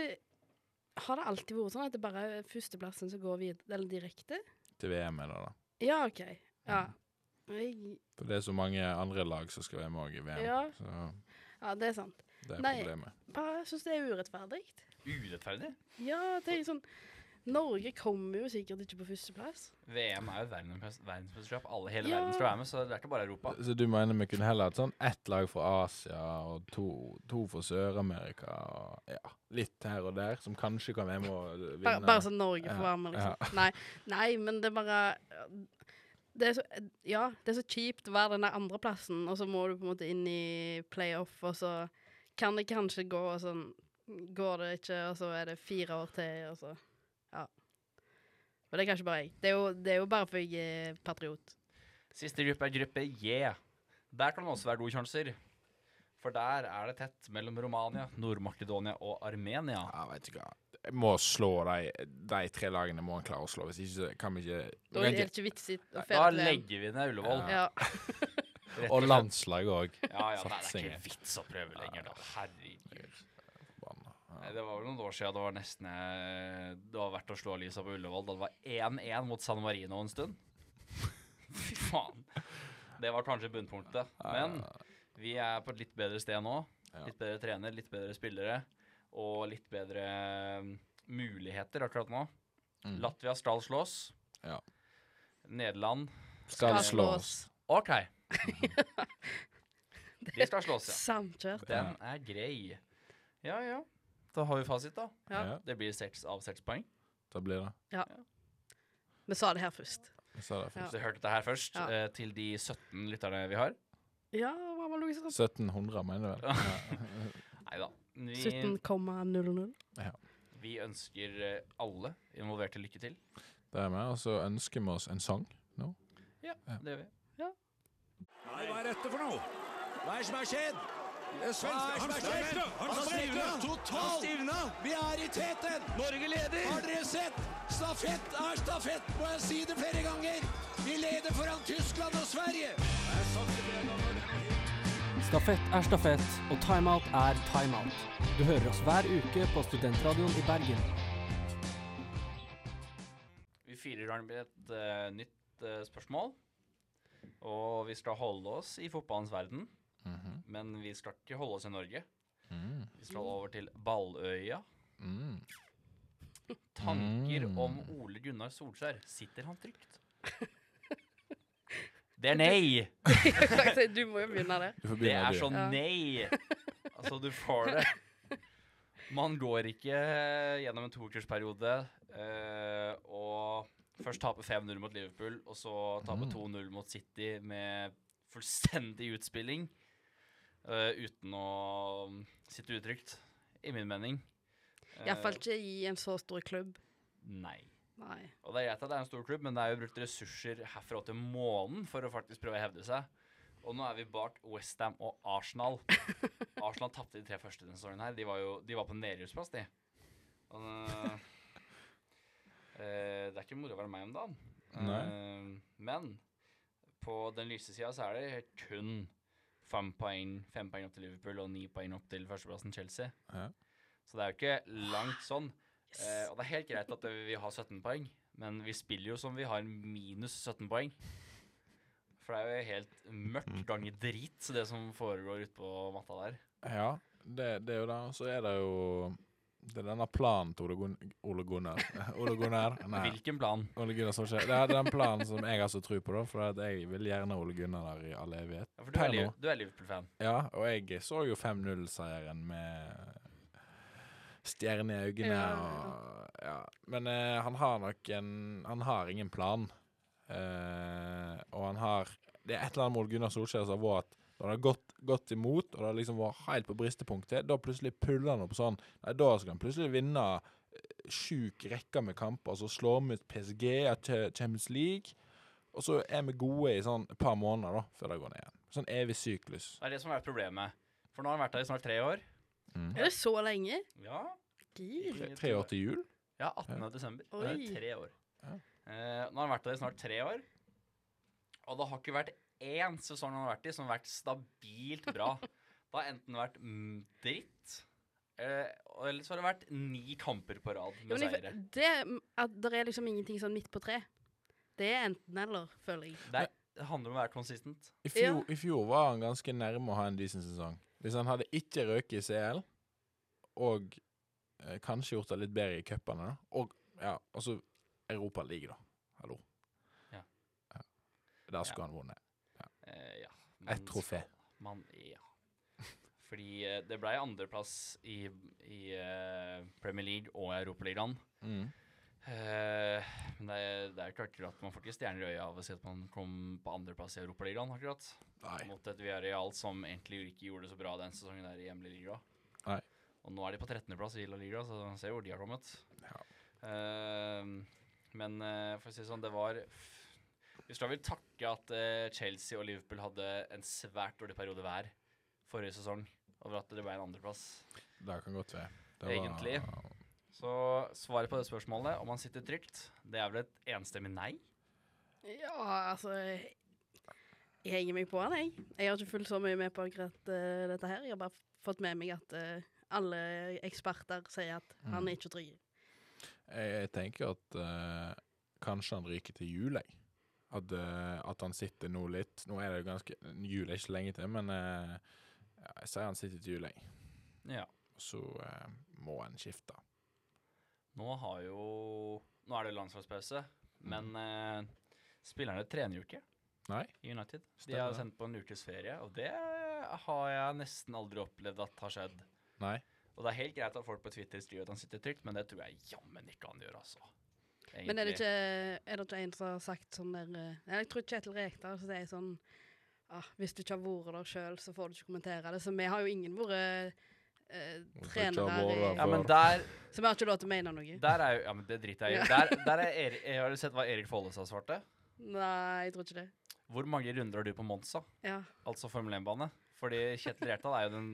S5: Har det alltid vært sånn at det bare er førsteplassen som går videre, eller direkte?
S2: Til VM er det, da.
S5: Ja, OK. Ja. Jeg,
S2: For det er så mange andre lag som skal være med også i VM.
S5: Ja.
S2: Så
S5: ja, det er sant.
S2: det er
S5: Nei.
S2: problemet.
S5: Bare syns det er urettferdig.
S4: Urettferdig?
S5: Ja, tenk sånn Norge kommer jo sikkert ikke på førsteplass.
S4: VM er jo verdens- verdensmesterskap. Alle hele
S5: Ja.
S4: verden skal være med, så det er ikke bare Europa.
S2: Så du mener vi kunne heller hatt sånn ett lag fra Asia og to, to fra Sør-Amerika og ja, litt her og der, som kanskje kan være med å vinne?
S5: Bare, bare sånn Norge får
S2: Ja,
S5: være med, liksom. Nei, nei, men det er bare det er så, Ja, det er så kjipt å være den der andreplassen, og så må du på en måte inn i playoff, og så kan det kanskje gå, og sånn går det ikke, og så er det fire år til, og så Ja. Men det er kanskje bare jeg. Det er jo, det er jo bare fordi jeg er patriot.
S4: Siste gruppe er gruppe J. Der kan det også være gode sjanser. For der er det tett mellom Romania, Nord-Makedonia og Armenia.
S2: Ja, vet du hva. Jeg må slå de, de tre lagene må en klare å slå. Hvis ikke så kan vi ikke
S5: Da er det ikke vits i å
S4: Da
S5: fele til
S4: legger vi ned Ullevål.
S5: Ja.
S4: rett
S2: Og
S4: slett.
S2: landslag òg.
S4: Ja, ja, nei, det er
S2: Satsingen.
S4: ikke vits å prøve lenger, da. Herregud. Nei,
S2: Ja.
S4: Det var vel noen år siden det var nesten eh, Det var verdt å slå Lisa på Ullevål da det var 1-1 mot San Marino en stund. Fy faen. Det var kanskje bunnpunktet. Men vi er på et litt bedre sted nå.
S2: Ja.
S4: Litt bedre trener, litt bedre spillere og litt bedre eh, muligheter akkurat nå.
S2: Mm.
S4: Latvia skal slås.
S2: Ja.
S4: Nederland
S2: Skal
S5: Skal
S2: slås.
S5: slås.
S4: OK. De skal slås, ja.
S5: Samkjørt.
S4: Den er grei. Ja, ja. Da har vi fasit, da.
S5: Ja.
S2: Ja,
S4: Det blir seks av seks poeng.
S2: da blir det.
S5: Vi sa det her først.
S2: Jeg sa det
S5: Ja.
S4: Hvis du hørte dette her først,
S5: Ja.
S4: eh, til de 17 lytterne vi har.
S5: Ja, hva var logisk?
S2: først. 1700, mener du vel?
S4: Nei da. Vi,
S5: 17,00.
S4: vi ønsker eh, alle involverte lykke til.
S2: Det er med. Og så ønsker vi oss en sang.
S4: Ja, det gjør vi.
S1: Nei, hva er dette for noe? Hva er det som har skjedd? Hva er det som har skjedd? Han har stivna totalt! Vi er i teten! Norge leder! Har dere sett? Stafett er stafett, må jeg si det flere ganger! Vi leder foran Tyskland og Sverige!
S3: Stafett er stafett, og timeout er timeout. Du hører oss hver uke på Studentradioen i Bergen.
S4: Vi fyrer av med et eh, nytt eh, spørsmål. Og vi skal holde oss i fotballens verden,
S2: Mhm.
S4: men vi skal ikke holde oss i Norge.
S2: Mm.
S4: Vi skal over til Balløya.
S2: Mm.
S4: Tanker
S2: Mm.
S4: om Ole Gunnar Solskjær. Sitter han trygt? Det er nei!
S5: Du må jo begynne der.
S2: Du får
S4: Det
S2: begynne,
S4: er
S2: du.
S4: sånn
S5: Ja.
S4: nei! Altså, du får det. Man går ikke eh, gjennom en toukersperiode eh, og først taper 5-0 mot Liverpool, og så taper
S2: Mm.
S4: 2-0 mot City med fullstendig utspilling eh, uten å um, sitte utrygt, i min mening.
S5: Iallfall ikke i en så stor klubb.
S4: Eh, Nei.
S5: Nei.
S4: Og det er greit at det er en stor klubb, men det er jo brukt ressurser herfra til månen for å faktisk prøve å hevde seg. Og nå er vi bak Westham og Arsenal. Arsenal tapte de tre første denne sesongen her. De var jo de var på nedrykksplass, de. Og, øh, øh, det er ikke moro å være meg om dagen. Øh, men på den lyse sida så er det kun fem poeng, fem poeng opp til Liverpool og ni poeng opp til førsteplassen Chelsea.
S2: Ja.
S4: Så det er jo ikke langt sånn. Eh, og det er helt greit at eh, vi har 17 poeng, men vi spiller jo som vi har minus 17 poeng. For det er jo helt mørkt ganger drit, så det som foregår ute på matta der.
S2: Ja, det, det er jo det. Og så er det jo det er denne planen til Ole, Gun Ole Gunnar Ole Gunnar? Nei.
S4: Hvilken plan?
S2: Ole Gunnar Solskjær. Det er den planen som jeg har så tro på, da. For at jeg vil gjerne Ole Gunnar der i all evighet.
S4: Ja, for du
S2: Per
S4: er, Liv-
S2: nå.
S4: du er Liverpool-fan.
S2: Ja, og jeg så jo 5-0-seieren med stjerne i øynene
S5: Ja, ja.
S2: og Ja. Men eh, han har nok en Han har ingen plan. Eh, og han har Det er et eller annet med Ole Gunnar Solskjær som har vært at når han har gått, gått imot, og det har liksom vært helt på bristepunktet, da plutselig puller han opp sånn. Nei, da skal han plutselig vinne eh, sjuk rekke med kamper, så slår vi ut PSG og Ch- Champions League. Og så er vi gode i sånn et par måneder, da, før det går ned igjen. Sånn evig syklus.
S4: Det er det som er problemet. For nå har han vært der i snart tre år.
S5: Er det så lenge?
S4: Ja,
S5: Gir.
S4: Jeg
S2: Tre
S4: tror
S2: år til jul?
S4: Ja, 18. desember. Det
S5: Oi.
S4: er tre år.
S2: Ja.
S4: Eh, nå har han vært der i snart tre år, og det har ikke vært én sesong han har vært i som har vært stabilt bra. Det har enten vært mm, dritt, eh, og- eller så har det vært ni kamper på rad
S5: Ja,
S4: med
S5: men
S4: seire.
S5: jeg, det, at det er liksom ingenting sånn midt på tre. Det er enten eller, føler jeg.
S4: Det, er, det handler om å være konsistent.
S2: I fjor, I fjor var han ganske nærme å ha en decent sesong. Hvis han hadde ikke røket i CL, og eh, kanskje gjort det litt bedre i cupene, da. og ja, altså Europa League, da. Hallo.
S4: Ja.
S2: Ja. Der skulle han vunnet.
S4: Eh, ja.
S2: Et trofé.
S4: Man, ja. Fordi eh, det ble andreplass i, i eh, Premier League og Europaligaen.
S2: Mm.
S4: Eh, Men det er, det er ikke akkurat Man får ikke stjerner i øya av å si at man kom på andreplass i Europaligaen, akkurat.
S2: Nei.
S4: Mot et Villarreal som egentlig ikke gjorde det så bra den sesongen der i hjemlig liga.
S2: Nei.
S4: Og nå er de på 13.-plass i La Liga, så man ser jo hvor de har kommet.
S2: Ja.
S4: Eh, men eh, for å si det sånn, det var Vi skal vel takke at eh, Chelsea og Liverpool hadde en svært dårlig periode hver forrige sesong over at det ble en andreplass.
S2: Det kan godt være. Det
S4: Egentlig.
S2: Var,
S4: Så svaret på det spørsmålet, om han sitter trygt, det er vel et enstemmig nei?
S5: Ja, altså Jeg jeg henger meg på han, jeg. Jeg har ikke fulgt så mye med på akkurat eh, dette her. Jeg har bare f- fått med meg at eh, alle eksperter sier at han
S4: Mm.
S5: er ikke trygg.
S2: jeg, jeg tenker at eh, kanskje han ryker til jul, jeg. At, eh, at han sitter nå litt Nå er det jo ganske Jul er ikke lenge til, men eh, ja, jeg sier han sitter til jul, jeg.
S4: Ja.
S2: Så eh, må han skifte.
S4: Nå har jo Nå er det jo landslagspause, men eh, spillerne trener jo ikke
S2: Mm. Nei?
S4: i United. De
S2: Stemmer
S4: har
S2: det.
S4: sendt på en ukes ferie, og det har jeg nesten aldri opplevd at har skjedd.
S2: Nei?
S4: Og det er helt greit at folk på Twitter skriver at han sitter trygt, men det tror jeg jammen ikke han gjør, altså.
S5: Men er
S4: Egentlig.
S5: det, ikke, er det ikke en som har sagt sånn der eh, Jeg tror Kjetil Rekdal som sier sånn ah, Hvis du ikke har vært der sjøl, så får du ikke kommentere det. Så vi har jo ingen vært eh,
S2: ikke
S5: trenere
S2: har vært
S5: i,
S4: Ja, men
S2: for-
S4: der,
S5: Så vi har ikke lov til å mene noe.
S4: der er jo Ja, men det driter jeg i. Der, der er Erik, har du sett hva Erik Follestad svarte?
S5: Nei, jeg tror ikke det.
S4: Hvor mange runder har du på Monza?
S5: Ja.
S4: Altså Formel 1-bane. Fordi Kjetil Rekdal er jo den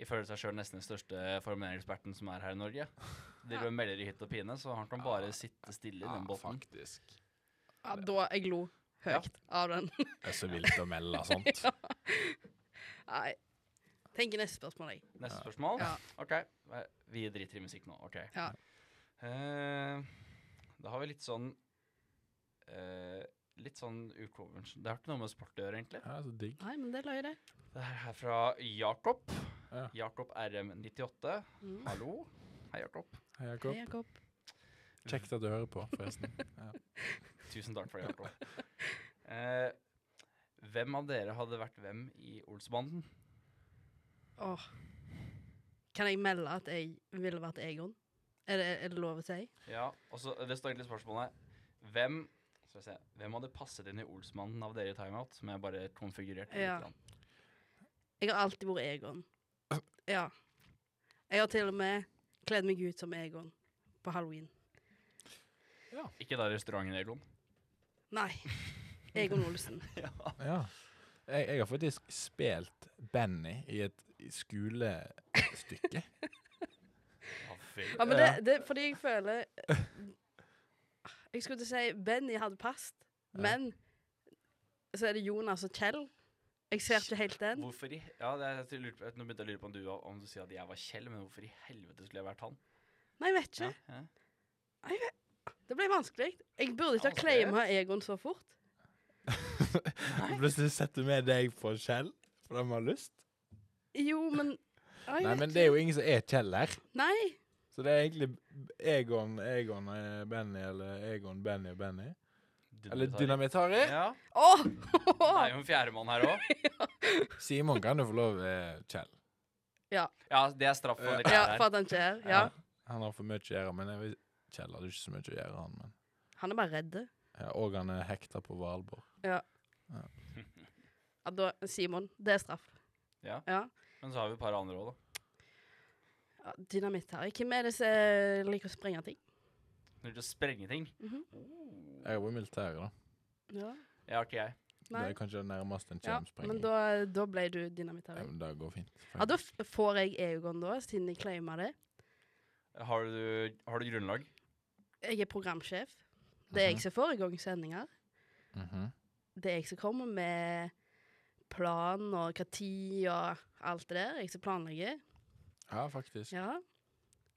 S4: ifølge seg sjøl nesten den største Formel 1-eksperten som er her i Norge. Driver og melder i hytt og pine, så han kan bare sitte stille i den båten.
S2: faktisk.
S5: ja da jeg lo
S4: Ja.
S5: høyt av den.
S2: Det er så vilt å melde sånt.
S5: Nei. Tenker neste spørsmål, jeg.
S4: Neste spørsmål?
S5: Ja.
S4: OK. Eh, Vi driter i musikk nå. OK.
S5: Ja.
S4: Eh, da har vi litt sånn eh, Litt sånn ukonvensjon... Det har ikke noe med sport å gjøre, egentlig.
S2: Ja, så digg.
S5: Nei, men det løy, det.
S4: Det her er fra Jakob.
S2: Ja.
S4: Jakob RM98.
S5: Mm.
S4: Hallo. Hei, Jakob.
S2: Hei,
S5: Hei,
S2: Jakob.
S5: Jakob.
S2: Kjekt at du hører på, forresten.
S4: Tusen takk for det, Jakob. Eh, hvem av dere hadde vært hvem i Olsbanden?
S5: Åh. Kan jeg melde at jeg ville vært Egon? Er det, er det lov å si?
S4: Ja, og så Det står egentlig spørsmålet Hvem skal vi se, hvem hadde passet inn i Olsmannen av dere i timeout? Som jeg bare konfigurerte
S5: Ja.
S4: litt. grann?
S5: Jeg har alltid vært Egon. Ja. Jeg har til og med kledd meg ut som Egon på halloween.
S4: Ikke da restauranten Egon.
S5: Nei. Egon Olsen.
S2: Ja. Jeg, jeg har faktisk spilt Benny i et skolestykke.
S4: Ja, vel.
S5: Ja, men det, det er fordi jeg føler Jeg skulle til å si Benny hadde passet, men så er det Jonas og Kjell. Jeg ser ikke helt den.
S4: Hvorfor i Ja, det er, jeg lurer på, Nå begynte jeg å lure på om du, om du sier at jeg var Kjell, men hvorfor i helvete skulle jeg vært han?
S5: Nei, jeg vet ikke.
S4: Ja, ja.
S5: Det ble vanskelig. Jeg burde ikke ha
S4: Vanskelig.
S5: claima Egon så fort.
S2: Plutselig setter vi deg på Kjell, for de har lyst.
S5: Jo, men Ja, jeg
S2: Nei,
S5: vet
S2: men
S5: ikke.
S2: det er jo ingen som er Kjell her.
S5: Nei.
S2: Så det er egentlig Egon, Egon, eh, Benny, eller Egon, Benny og Benny. Eller Dynamitari.
S4: Ja.
S5: Åh!
S4: Det er jo en fjerdemann her òg.
S2: Simon kan jo få lov eh, Kjell.
S4: Ja, det er straff for dere
S5: Ja,
S4: her.
S5: for at han ikke er her. Ja.
S2: Han har for mye å gjøre, men jeg vet, Kjell hadde ikke så mye å gjøre, han. Men.
S5: Han er bare redd.
S2: Ja, og han er hekta på Valborg.
S5: Ja, da, Simon, det er straff.
S4: Ja.
S5: ja.
S4: Men så har vi et par andre òg, da.
S5: Ja, Dynamitt her. Hvem er det som eh, liker å sprenge ting?
S4: Når det sprenge ting.
S5: Mhm.
S2: Jeg var i militæret, da.
S5: Ja.
S4: Jeg har ikke jeg.
S5: Nei.
S2: Det er kanskje det nærmeste en
S5: Ja,
S2: kommer sprenging.
S5: men da, eh, da ble du dynamitt
S2: Ja,
S5: her.
S2: men det går fint.
S5: Ja, da f- får jeg Egon, da, siden jeg claima det.
S4: Har du, har du grunnlag?
S5: Jeg er programsjef. Det er jeg som får i gang sendinger.
S2: Mhm.
S5: Det er jeg som kommer med plan og hva tid og alt det der. Jeg som planlegger.
S2: Ja, faktisk.
S5: Ja.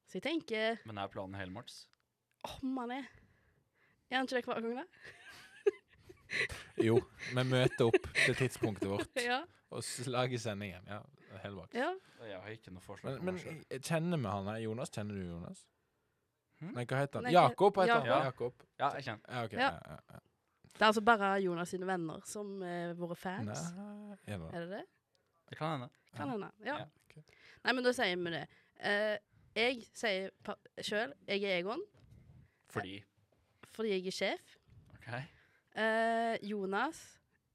S5: Så jeg tenker
S4: Men er planen helmars?
S5: om han er Er han ikke det hver gang, da?
S2: Jo, vi møter opp til tidspunktet vårt
S5: Ja.
S2: og s- lager sendingen. Ja, helt bak.
S5: ja.
S4: Jeg har ikke noe forslag.
S2: Men,
S4: på
S2: men
S4: meg selv.
S2: jeg kjenner vi han her? Jonas, kjenner du Jonas?
S4: Hm?
S2: Nei, hva heter han?
S5: Nei, hva-
S2: Jakob heter han.
S4: Ja.
S2: Jakob.
S4: ja, jeg kjenner.
S2: Ja, ok.
S5: Ja.
S2: Ja, ja, ja.
S5: Det er altså bare Jonas sine venner som har vært fans.
S2: Nei, er det det?
S5: Er det det?
S4: Det kan hende.
S5: Kan
S2: Ja.
S5: hende. Ja.
S4: Ja,
S2: ok.
S5: Nei, men da sier vi det. Eh, jeg sier pa- sjøl jeg er Egon
S4: Fordi
S5: fordi jeg er sjef.
S4: OK.
S5: Eh, Jonas,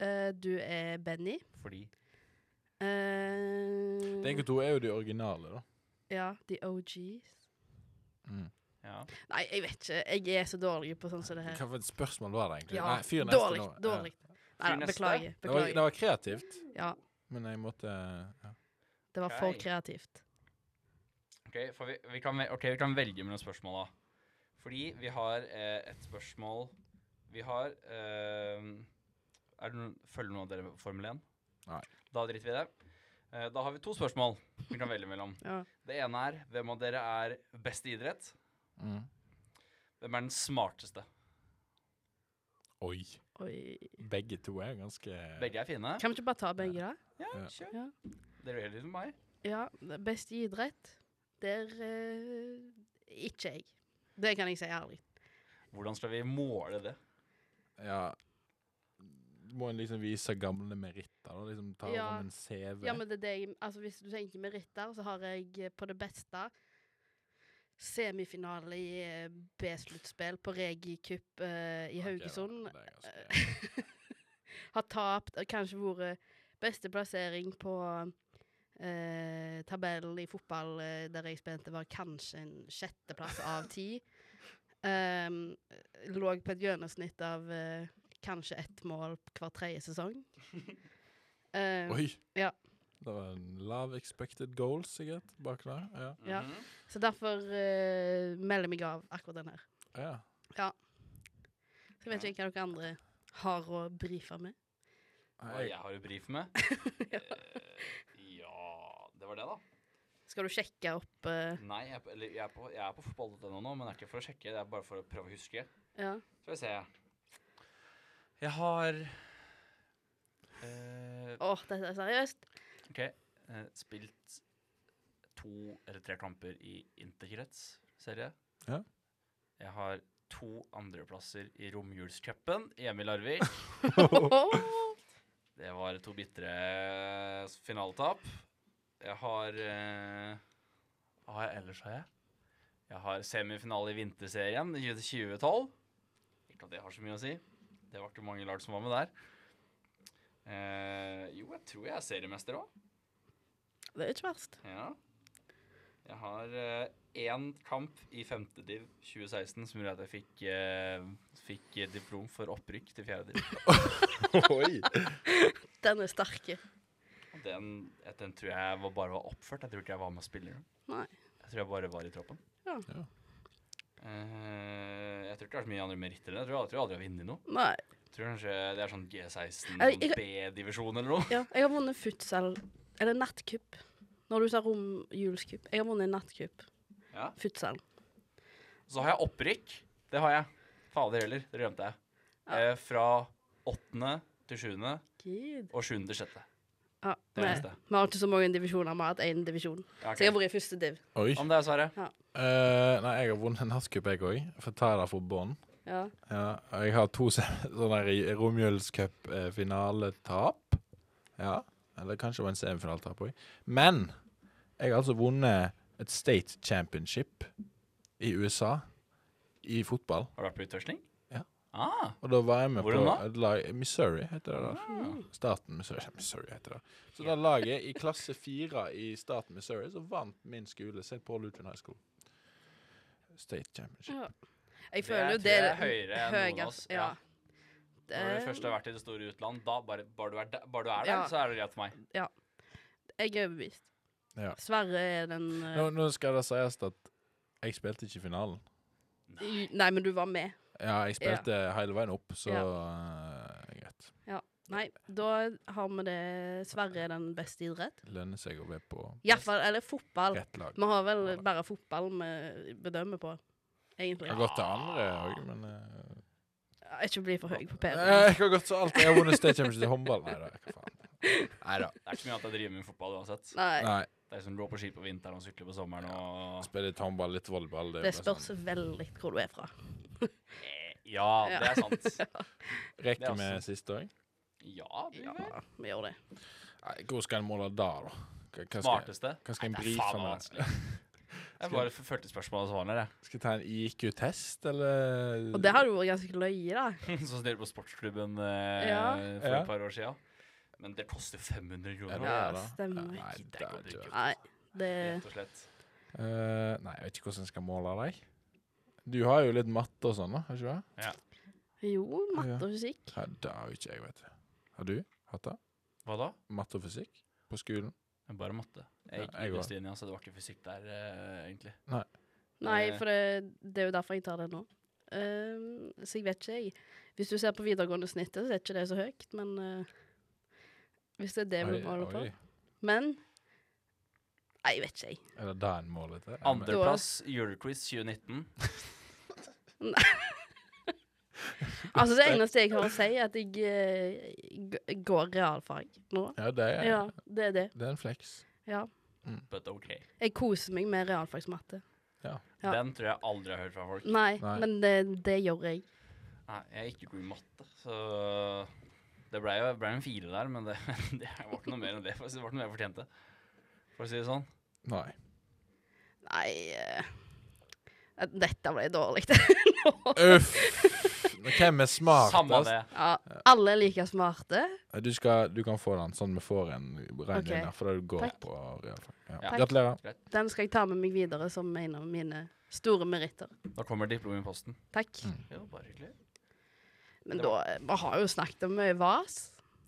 S5: eh, du er Benny.
S4: Fordi
S5: Eh,
S2: Dere to er jo de originale, da.
S5: Ja, The OGs.
S2: Mm.
S4: Ja.
S5: Nei, jeg vet ikke. Jeg er så dårlig på sånn som det
S2: Hva
S5: her.
S2: for et spørsmål var det egentlig?
S5: Ja,
S2: Nei, fyr neste
S5: dårlig.
S2: nå. Ja.
S5: dårlig.
S4: Fyr
S5: Nei, da,
S4: neste.
S5: beklager.
S2: Det var, det
S5: beklager.
S2: var kreativt,
S5: Ja.
S2: men jeg måtte ja.
S5: Det var for
S4: Ok.
S5: kreativt.
S4: Ok, for vi, vi kan, ve- ok, vi kan velge mellom spørsmåla. Fordi vi har eh, et spørsmål Vi har eh, er det noen, Følger noen av dere Formel 1?
S2: Nei.
S4: Da driter vi i det. Eh, da har vi to spørsmål vi kan velge mellom.
S5: Ja.
S4: Det ene er hvem av dere er best i idrett?
S2: Mm.
S4: Hvem er den smarteste?
S2: Oi.
S5: Oi.
S2: Begge to er ganske
S4: Begge er fine.
S5: Kan vi ikke bare ta begge, da?
S4: Ja,
S2: Ja.
S4: kjør.
S5: Ja.
S4: Dere gjør det som meg.
S5: Ja, det best i idrett. Der eh, ikke jeg. Det kan jeg si ærlig.
S4: Hvordan skal vi måle det?
S2: Ja. Må en liksom vise gamle meritter? da? Liksom ta
S5: Ja.
S2: fram en CV?
S5: Ja, men det er det jeg Altså, hvis du tenker meritter, så har jeg eh, på det beste semifinale i eh, B-sluttspill på Regi-cup eh, i
S2: Ok,
S5: Haugesund. eh,
S2: da, det er ganske-
S5: har tapt, og kanskje vært beste plassering på eh, tabellen i fotball eh, der jeg spilte, var kanskje en sjetteplass av ti. Um, lå på et gjennomsnitt av eh, kanskje ett mål hver tredje sesong. Um,
S2: Oi!
S5: Ja.
S2: Det var en lav expected goal, sikkert, bak der. Ja.
S5: Ja.
S4: Mhm.
S5: så derfor eh, melder jeg meg av akkurat den her.
S2: ja.
S5: Så jeg vet ikke hva dere andre har å brife med.
S4: Hva jeg har å brife med? Eh, ja Det var det, da.
S5: Skal du sjekke opp eh,
S4: Nei, jeg, er på- eller jeg er på, jeg er på fotball.no nå, men det er ikke for å sjekke. Det er bare for å prøve å huske.
S5: Ja.
S4: Skal vi se. Jeg har eh,
S5: Å, dette er seriøst.
S4: OK. eh, spilt to eller tre kamper i interkrets-serie.
S2: Ja.
S4: Jeg har to andreplasser i romjulscupen hjemme i Larvik. Det var to bitre finaletap. Jeg har eh, Hva har jeg ellers, har jeg? Jeg har semifinale i vinterserien i 2012. Ikke at det har så mye å si. Det var ikke mange lag som var med der. Eh, jo, jeg tror jeg er seriemester òg.
S5: Det er ikke verst.
S4: Ja. Jeg har eh, én kamp i femtediv 2016 som gjorde at jeg fikk, eh, fikk eh, diplom for opprykk til fjerdediv.
S2: Oi!
S5: Den er sterke.
S4: Den, eh, den tror jeg var bare var oppført. Jeg tror ikke jeg var med og spiller. den.
S5: Nei.
S4: Jeg tror jeg bare var i troppen.
S5: Ja.
S2: Ja.
S4: Eh, jeg tror ikke det har vært så mye andre meritter. enn det. Jeg tror jeg, jeg tror aldri jeg har vunnet noe.
S5: Nei.
S4: Jeg tror kanskje det er sånn G16
S5: Jeg- jeg-
S4: B-divisjon eller noe.
S5: Ja, jeg har vunnet futsal Eller nattcup. Når du sa romjulscup. Jeg har vunnet en nattcup.
S4: Ja.
S5: Futsal.
S4: Så har jeg opprykk. Det har jeg. Fader heller, det glemte jeg.
S5: Ja.
S4: Eh, fra åttende til sjuende
S5: Gud.
S4: og sjuende til sjette.
S5: Ja,
S4: Det er
S5: nei.
S4: det eneste.
S5: Vi har ikke så mange divisjoner. Vi har hatt én divisjon.
S4: Ja,
S5: Så jeg har
S4: ok.
S5: vært i første div.
S2: Oi.
S4: Om det, Sverre.
S2: Eh, nei, jeg har vunnet en nattcup, jeg òg. Får ta det fra bånn.
S5: Ja.
S2: Ja, og jeg har to se- sånne her i romjulscup-finaletap. Ja, eller kanskje det var en semifinaletap òg. Men jeg har altså vunnet et state championship i USA i fotball.
S4: Har du vært på utveksling?
S2: Ja.
S4: Ah,
S2: Og da var jeg med
S4: Hvordan
S2: på
S4: da? Mm.
S2: et lag Missouri, heter det da. Staten Missouri, Missouri heter det. Så da laget i klasse fire i staten Missouri, så vant min skole, St. Paul Lutheran High School. State championship.
S4: Mm.
S5: ja. Jeg
S4: Det
S5: føler jo
S4: tror
S5: det
S4: jeg
S5: er
S4: er høyere enn noen av
S5: høyest,
S4: oss,
S5: Ja.
S4: ja. Når du først har vært i det store utland, da bare, bare, du, er der, bare du er der,
S5: Ja.
S4: så er det greit for meg.
S5: Jeg er overbevist.
S2: Ja.
S5: Sverre er den eh,
S2: Nå, nå skal det sies at jeg spilte ikke i finalen.
S5: i- Nei, men du var med.
S2: Ja, jeg spilte hele veien opp, så
S5: Ja.
S2: eh, greit.
S5: Nei, da har vi det Sverre er den beste i idrett.
S2: Lønner seg å være på
S5: Iallfall Eller fotball.
S2: rett lag.
S5: Vi har vel bare fotball vi bedømmer på, egentlig.
S2: Jeg har gått til andre òg, men eh,
S5: Ja, Ikke bli for høy på
S2: eh,
S5: P3.
S2: Jeg har gått til alt. Jeg har vunnet State Championship i håndball. Nei da, hva faen. Neida.
S4: Det er ikke så mye annet jeg driver med i fotball uansett.
S5: Nei,
S2: Nei.
S4: Det er som å gå på ski på vinteren og sykle på sommeren og
S2: Spille litt håndball, litt volleyball. Det,
S5: det
S2: er bare sånn.
S5: spørs veldig hvor du er fra.
S4: Eh, Ja, det er sant.
S2: Sånn. Rekker vi
S4: Det er også-
S2: siste òg?
S4: Ja, du
S5: Ja,
S4: vet.
S5: vi gjør det.
S2: Nei, Hvor skal en måle da, da? Hva, hva skal,
S4: Smarteste.
S2: hva skal en
S4: Nei, det er
S2: brife
S4: faen meg
S2: med?
S4: vanskelig. Jeg bare f- fulgte spørsmålet og svarene, jeg.
S2: Skal jeg ta en IQ-test, eller
S5: Og det hadde jo vært ganske løye, da.
S4: Sånn som dere på sportsklubben eh,
S5: Ja.
S4: for
S2: Ja.
S4: et par år siden. Men det koster jo 500 kroner.
S5: Ja,
S2: det, da?
S5: stemmer.
S2: Nei,
S4: Gidder
S2: det
S4: ikke å
S2: er
S4: drikke
S2: ikke
S4: ut.
S5: Nei, det
S4: Rett og slett.
S2: Eh, nei, jeg vet ikke hvordan jeg skal måle deg. Du har jo litt matte og sånn, da? har ikke du det?
S5: Jo, matte og fysikk.
S2: Ja, det har jo ikke jeg, vet du. Har du hatt det?
S4: Hva da?
S2: Matte og fysikk på skolen?
S4: Bare matte. Jeg gikk
S2: Ja, jeg også.
S4: idrettslinja, så det var ikke fysikk der, eh, egentlig.
S5: Nei,
S4: Eh.
S5: for det, det er jo derfor jeg tar det nå. Ehm, så jeg vet ikke, jeg. Hvis du ser på videregående snittet, så er ikke det så høyt, men eh, Hvis det er det vi
S2: Oi,
S5: holder på.
S2: oi.
S5: Men Nei, jeg vet ikke, jeg.
S2: Er det det en mål etter? Ja, men-
S4: Andreplass Euroquiz 2019.
S5: Altså, det eneste jeg har å si, er at jeg eh, g går realfag nå.
S2: Ja, det er,
S5: Ja, det er det.
S2: det er en flex.
S5: Ja.
S4: But ok.
S5: Jeg koser meg med realfagsmatte. Ja.
S4: Den tror jeg aldri jeg har hørt fra folk.
S5: Nei,
S2: Nei.
S5: men det, det gjør jeg.
S4: Nei, jeg er ikke god i matte, så det ble jo ble en fire der, men det, det var ikke noe mer enn det. for å si- Det var ikke noe jeg fortjente, for å si det sånn.
S2: Nei.
S5: Nei eh, Dette ble dårlig.
S2: Uff! Men Hvem er smartest?
S4: Samme det.
S5: ja, alle er like smarte.
S2: Du, skal, du kan få den, sånn vi får en ren
S5: Ok.
S2: linje. For det du går
S5: Takk.
S2: på realfag. Ja.
S4: Ja.
S5: Takk.
S2: Gratulerer.
S5: Den skal jeg ta med meg videre som en av mine store meritter.
S4: Da kommer diplomet i posten.
S5: Takk.
S2: Mm.
S4: Jo, bare hyggelig.
S5: Men da eh, Vi har jo snakket om mye vas.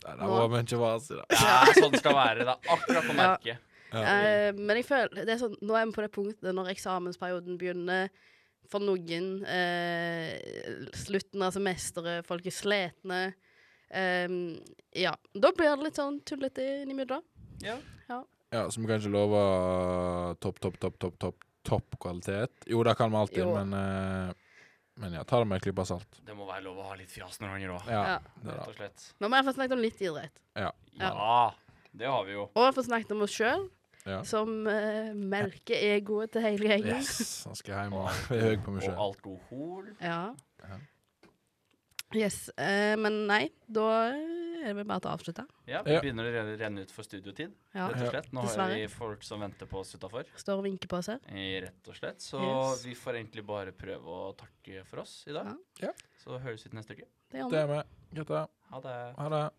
S2: Nei, det var mye vas i dag.
S4: Ja, sånn skal det være. Det er akkurat på
S5: Ja.
S4: merket.
S5: Eh, men jeg føler det er sånn, Nå er vi på det punktet når eksamensperioden begynner. For noen eh, slutten av semesteret, folk er sletne. Ehm, ja. Da blir det litt sånn tullete innimellom.
S4: Ja.
S2: Ja, så vi kan ikke love topp, topp, topp, topp, topp topp kvalitet. Jo, det kan vi alltid,
S5: Jo.
S2: men eh, Men ja, ta det med en klype salt.
S4: Det må være lov å ha litt fjas noen ganger òg,
S2: Ja,
S5: Ja.
S2: det
S4: rett
S2: da.
S4: og slett.
S5: Nå må jeg få snakket om litt idrett.
S4: Ja, det har vi jo.
S5: Og jeg får snakket om oss sjøl,
S2: Ja.
S5: som eh, melker egoet til hele gjengen.
S2: Yes, han skal hjem og er høy på meg
S4: Og
S2: sjøl.
S4: alkohol.
S5: Ja.
S2: Ja.
S5: Yes. eh, men nei, da eh, er det vel bare til å avslutte.
S4: Ja, vi
S2: Ja.
S4: begynner å renne- renne ut for studiotid,
S5: Ja.
S4: rett og slett. Nå har
S5: Dessverre.
S4: vi folk som venter på oss utafor.
S5: Står og vinker på oss her.
S4: Eh, Rett og slett. Så
S5: Yes.
S4: vi får egentlig bare prøve å takke for oss i dag.
S2: Ja. Ja.
S4: Så høres vi til neste uke.
S5: Det gjør vi.
S2: Det er vi. Gratulerer.
S4: Ha det.
S2: Ha det.